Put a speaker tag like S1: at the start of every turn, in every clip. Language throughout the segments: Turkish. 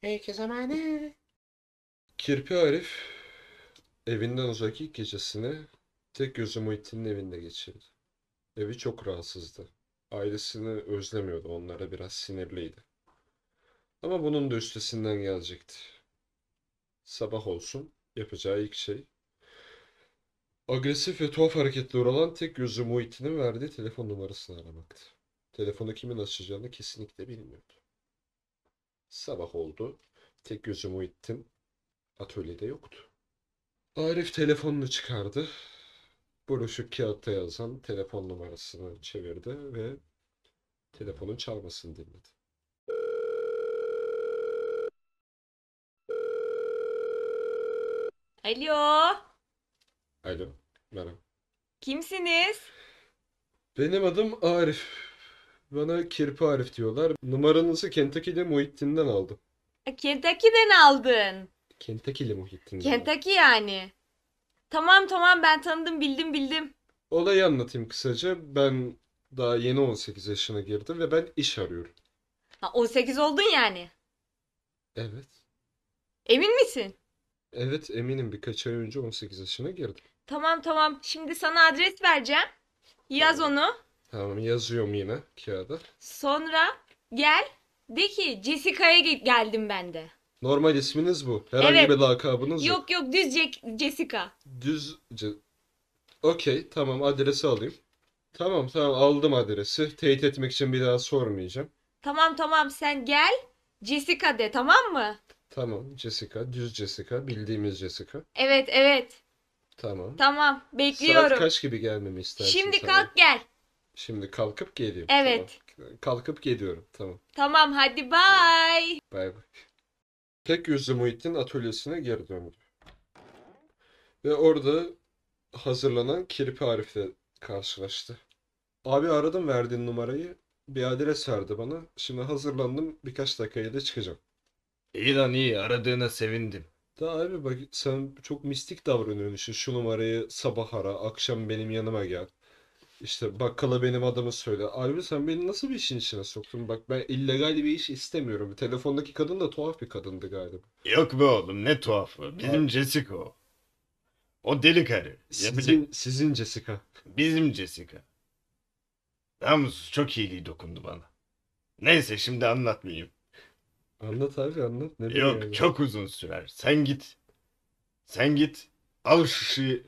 S1: Herkese emanet.
S2: Kirpi Arif evinden uzak ilk gecesini tek gözü Muhittin'in evinde geçirdi. Evi çok rahatsızdı. Ailesini özlemiyordu, onlara biraz sinirliydi. Ama bunun da üstesinden gelecekti. Sabah olsun yapacağı ilk şey agresif ve tuhaf hareketleri olan tek gözü Muhittin'in verdiği telefon numarasını aramaktı. Telefonu kimin açacağını kesinlikle bilmiyordu. Sabah oldu. Tek gözü Muhittin Atölyede yoktu. Arif telefonunu çıkardı. Buruşuk kağıtta yazan telefon numarasını çevirdi ve telefonun çalmasını dinledi.
S3: Alo,
S2: Alo, merhaba.
S3: kimsiniz?
S2: Benim adım Arif. Bana Kirpi Arif diyorlar. Numaranızı Kentucky'de Muhittin'den aldım.
S3: E, Kentucky'den aldın.
S2: Kentucky'li Muhittin'den. aldım.
S3: Kentucky yani. Tamam tamam ben tanıdım bildim bildim.
S2: Olayı anlatayım kısaca. Ben daha yeni 18 yaşına girdim ve ben iş arıyorum.
S3: Ha, 18 oldun yani.
S2: Evet.
S3: Emin misin?
S2: Evet eminim birkaç ay önce 18 yaşına girdim.
S3: Tamam tamam şimdi sana adres vereceğim. Yaz onu.
S2: Tamam yazıyorum yine kağıda.
S3: Sonra gel. De ki Jessica'ya ge- geldim ben de.
S2: Normal isminiz bu. Herhangi
S3: Evet.
S2: bir lakabınız yok.
S3: Yok yok düz Jack- Jessica.
S2: Düz... ce- Okey tamam adresi alayım. Tamam tamam aldım adresi. Teyit etmek için bir daha sormayacağım.
S3: Tamam tamam sen gel. Jessica de tamam mı?
S2: Tamam Jessica. Düz Jessica. Bildiğimiz Jessica.
S3: Evet evet.
S2: Tamam.
S3: Tamam
S2: Saat
S3: bekliyorum.
S2: kaç gibi gelmemi istersin
S3: Şimdi
S2: sana?
S3: kalk gel.
S2: Şimdi kalkıp geleyim.
S3: Evet.
S2: Tamam. Kalkıp geliyorum. Tamam.
S3: Tamam hadi bye.
S2: Bay bay. Tek yüzlü Muhittin atölyesine geri döndü. Ve orada hazırlanan Kirpi Arif'le karşılaştı. Abi aradım verdiğin numarayı. Bir adres verdi bana. Şimdi hazırlandım. Birkaç dakikaya da çıkacağım.
S4: İyi lan iyi aradığına sevindim.
S2: Da abi bak sen çok mistik davranıyorsun. Şu numarayı sabah ara, akşam benim yanıma gel. İşte bakkala benim adımı söyle. Abi sen beni nasıl bir işin içine soktun? Bak ben illegal bir iş istemiyorum. Telefondaki kadın da tuhaf bir kadındı galiba.
S4: Yok be oğlum ne tuhafı. Bizim Jessica o. O deli karı. Yapacak...
S2: Sizin, sizin Jessica.
S4: Bizim Jessica. Namussuz çok iyiliği dokundu bana. Neyse şimdi anlatmayayım.
S2: Anlat abi anlat. Ne
S4: Yok
S2: yani?
S4: çok uzun sürer. Sen git. Sen git. Al şu şeyi.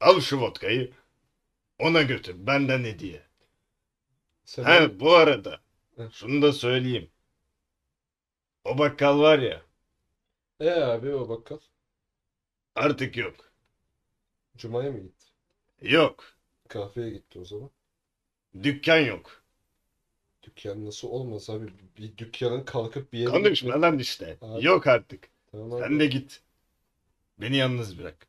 S4: Al şu vodkayı. Ona götür. Benden hediye.
S2: Sen
S4: Ha bu arada.
S2: Hı.
S4: Şunu da söyleyeyim. O bakkal var ya.
S2: E abi o bakkal.
S4: Artık yok.
S2: Cuma'ya mı gitti?
S4: Yok.
S2: Kahveye gitti o zaman.
S4: Dükkan yok.
S2: Dükkan nasıl olmaz abi? Bir dükkanın kalkıp bir yere gitme-
S4: Konuşma lan işte.
S2: Abi.
S4: Yok artık.
S2: Tamam abi.
S4: Sen de git. Beni yalnız bırak.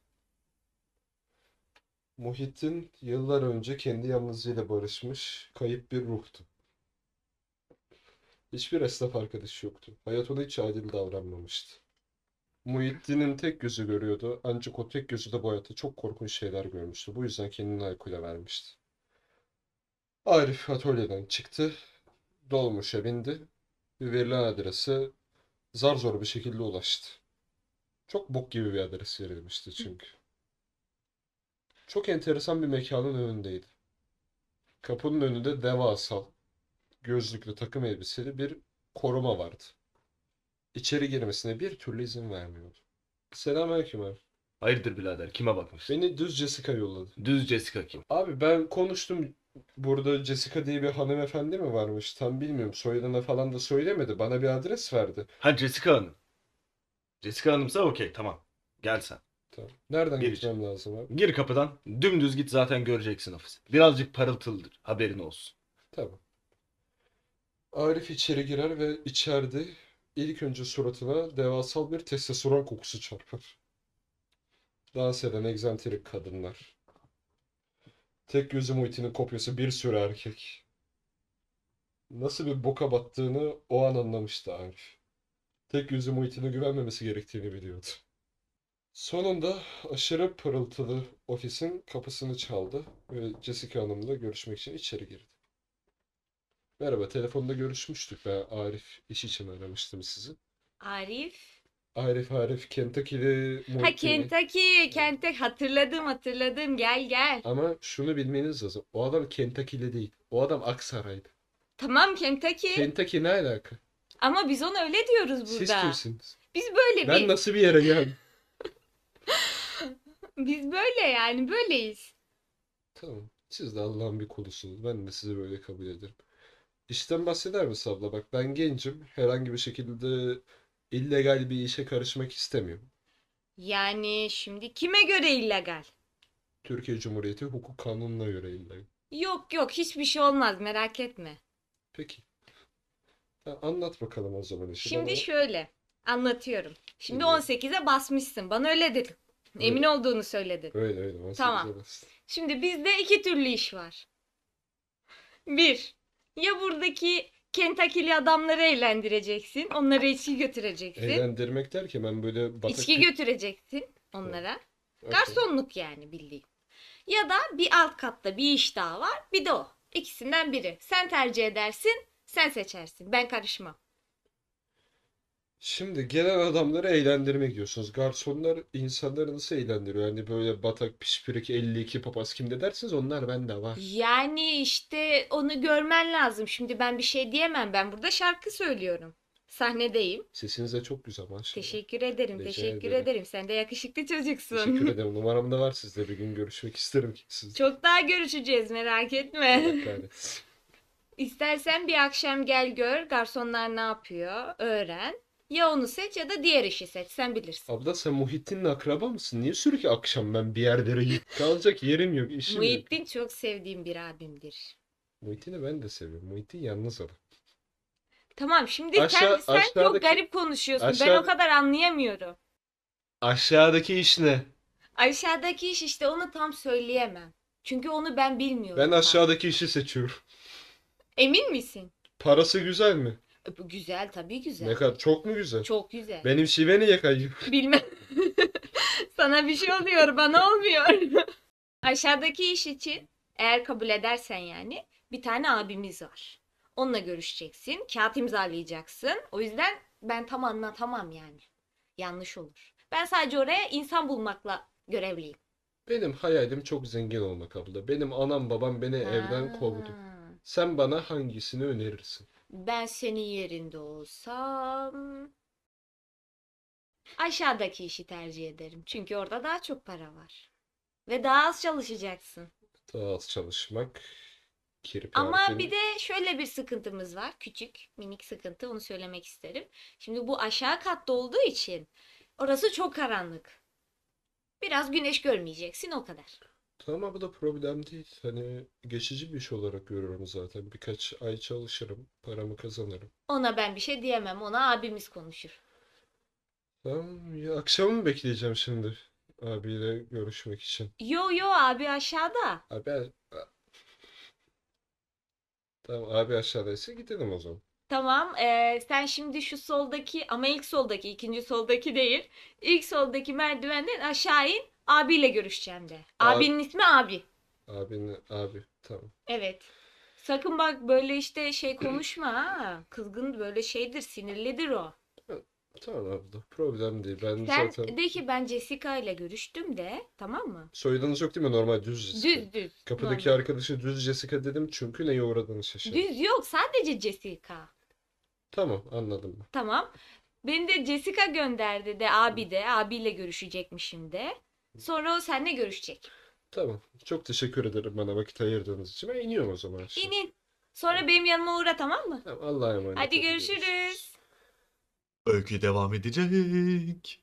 S2: Muhittin yıllar önce kendi yalnızlığıyla barışmış, kayıp bir ruhtu. Hiçbir esnaf arkadaşı yoktu. Hayat ona hiç adil davranmamıştı. Muhittin'in tek gözü görüyordu ancak o tek gözü de bu hayatta çok korkunç şeyler görmüştü. Bu yüzden kendini alkole vermişti. Arif atölyeden çıktı, dolmuşa bindi ve verilen adrese zar zor bir şekilde ulaştı. Çok bok gibi bir adres verilmişti çünkü. Çok enteresan bir mekanın önündeydi. Kapının önünde devasal, gözlüklü takım elbiseli bir koruma vardı. İçeri girmesine bir türlü izin vermiyordu. Selamünaleyküm abi.
S4: Hayırdır birader kime bakmışsın?
S2: Beni düz Jessica yolladı.
S4: Düz Jessica kim?
S2: Abi ben konuştum. Burada Jessica diye bir hanımefendi mi varmış? Tam bilmiyorum. Soyadını falan da söylemedi. Bana bir adres verdi.
S4: Ha Jessica Hanım. Jessica Hanım'sa okey tamam. Gel sen.
S2: Tamam. Nereden
S4: Bir
S2: gitmem lazım abi?
S4: Gir kapıdan dümdüz git zaten göreceksin ofisi. Birazcık parıltılıdır haberin olsun.
S2: Tamam. Arif içeri girer ve içeride ilk önce suratına devasal bir testosteron kokusu çarpar. Dans eden egzantrik kadınlar. Tek gözü Muhittin'in kopyası bir sürü erkek. Nasıl bir boka battığını o an anlamıştı Arif. Tek gözü Muhittin'e güvenmemesi gerektiğini biliyordu. Sonunda aşırı pırıltılı ofisin kapısını çaldı ve Jessica Hanım'la görüşmek için içeri girdi. Merhaba, telefonda görüşmüştük. Ben Arif iş için aramıştım sizi.
S3: Arif.
S2: Arif Arif Kentucky'li
S3: Ha
S2: Muhittin'i-
S3: Kentucky. Kentucky. Hatırladım hatırladım. Gel gel.
S2: Ama şunu bilmeniz lazım. O adam Kentucky'li değil. O adam Aksaray'dı.
S3: Tamam Kentucky.
S2: Kentucky ne alaka?
S3: Ama biz ona öyle diyoruz burada.
S2: Siz kimsiniz?
S3: Biz böyle
S2: Ben
S3: bir
S2: nasıl bir yere geldim?
S3: biz böyle yani böyleyiz.
S2: Tamam. Siz de Allah'ın bir kulusunuz. Ben de sizi böyle kabul ederim. İşten bahseder misin abla? Bak ben gencim. Herhangi bir şekilde illegal bir işe karışmak istemiyorum.
S3: Yani şimdi kime göre illegal?
S2: Türkiye Cumhuriyeti hukuk kanununa göre illegal.
S3: Yok yok hiçbir şey olmaz merak etme.
S2: Peki. Ha, anlat bakalım o zaman işi
S3: Şimdi
S2: bana.
S3: şöyle anlatıyorum. Şimdi
S2: Dinliyorum.
S3: 18'e basmışsın. Bana öyle dedin. Emin
S2: Öyle.
S3: olduğunu söyledin.
S2: Öyle öyle. 18'e
S3: Tamam.
S2: bastın.
S3: Şimdi bizde iki türlü iş var. Bir, ya buradaki Kentucky'li adamları eğlendireceksin. Onlara içki götüreceksin.
S2: Eğlendirmek derken ben böyle batak
S3: içki
S2: bir-
S3: götüreceksin onlara.
S2: Okey.
S3: Garsonluk yani bildiğin. Ya da bir alt katta bir iş daha var. Bir de o. İkisinden biri. Sen tercih edersin, sen seçersin. Ben karışmam.
S2: Şimdi gelen adamları eğlendirmek diyorsunuz. Garsonlar insanları nasıl eğlendiriyor? Yani böyle batak, pişpirik, 52 papaz kimde dersiniz onlar bende var.
S3: Yani işte onu görmen lazım. Şimdi ben bir şey diyemem. Ben burada şarkı söylüyorum. Sahnedeyim.
S2: Sesiniz de çok güzel maşallah.
S3: Teşekkür ederim,
S2: Rica
S3: teşekkür
S2: ederim.
S3: ederim. Sen de yakışıklı çocuksun.
S2: Teşekkür ederim. Numaram da var sizde. Bir gün görüşmek isterim ki siz.
S3: Çok daha görüşeceğiz merak etme.
S2: Allah kahretsin.
S3: İstersen bir akşam gel gör garsonlar ne yapıyor, öğren. Ya onu seç ya da diğer işi seç, sen bilirsin.
S2: Abla sen Muhittin'le akraba mısın? Niye sürekli akşam ben bir yerlere git? Kalacak yerim yok, işim yok.
S3: Muhittin çok sevdiğim bir abimdir.
S2: Muhittin'i ben de seviyorum. Muhittin yalnız adam.
S3: Tamam şimdi sen,
S2: Aşağı-
S3: sen çok
S2: aşağıdaki-
S3: garip konuşuyorsun. Ben
S2: aşağı-
S3: o kadar anlayamıyorum.
S2: Aşağıdaki iş ne?
S3: Aşağıdaki iş işte onu tam söyleyemem. Çünkü onu ben bilmiyorum.
S2: Ben
S3: tam.
S2: aşağıdaki işi seçiyorum.
S3: Emin misin?
S2: Parası güzel mi?
S3: E, bu Güzel tabii güzel.
S2: Ne kadar çok mu güzel?
S3: Çok güzel.
S2: Benim şive niye kayıyor?
S3: Bilmem. Sana bir şey oluyor, bana olmuyor. Aşağıdaki iş için eğer kabul edersen yani bir tane abimiz var. Onunla görüşeceksin, kağıt imzalayacaksın. O yüzden ben tam anlatamam yani. Yanlış olur. Ben sadece oraya insan bulmakla görevliyim.
S2: Benim hayalim çok zengin olmak abla. Benim anam babam beni E, evden kovdu.
S3: Ha.
S2: Sen bana hangisini önerirsin?
S3: Ben senin yerinde olsam aşağıdaki işi tercih ederim. Çünkü orada daha çok para var. Ve daha az çalışacaksın.
S2: Daha az çalışmak, kirpi
S3: Ama
S2: harfini-
S3: bir de şöyle bir sıkıntımız var. Küçük, minik sıkıntı. Onu söylemek isterim. Şimdi bu aşağı katta olduğu için orası çok karanlık. Biraz güneş görmeyeceksin o kadar.
S2: Tamam bu da problem değil. Hani geçici bir iş olarak görüyorum zaten. Birkaç ay çalışırım, paramı kazanırım.
S3: Ona ben bir şey diyemem. Ona abimiz konuşur.
S2: Tamam, ya akşamı mı bekleyeceğim şimdi abiyle görüşmek için?
S3: Yo yo abi aşağıda.
S2: Abi, tamam abi aşağıdaysa gidelim o zaman.
S3: Tamam. eee, sen şimdi şu soldaki ama ilk soldaki, ikinci soldaki değil. İlk soldaki merdivenden aşağı in. Abiyle görüşeceğim de.
S2: Abi-
S3: Abinin ismi abi.
S2: Abini, abi tamam.
S3: Evet. Sakın bak böyle işte şey konuşma ha. Kızgın böyle şeydir, sinirlidir o.
S2: Tamam abla problem değil. Ben
S3: Sen
S2: zaten
S3: de ki ben Jessica ile görüştüm de, tamam mı?
S2: soyadınız yok değil mi? Normal düz Jessica.
S3: Düz düz.
S2: Kapıdaki
S3: normal.
S2: arkadaşı düz Jessica dedim çünkü neye uğradığını şaşırdım.
S3: Düz yok, sadece Jessica.
S2: Tamam anladım ben.
S3: Tamam. Beni de Jessica gönderdi de abi de, abiyle görüşecekmişim de. Sonra o seninle görüşecek.
S2: Tamam. Çok teşekkür ederim bana vakit ayırdığınız için. Ben iniyorum o zaman şimdi.
S3: İnin. Sonra benim yanıma uğra tamam mı?
S2: Tamam, Allah'a emanet
S3: Hadi
S2: olun.
S3: görüşürüz.
S1: Öykü devam edecek.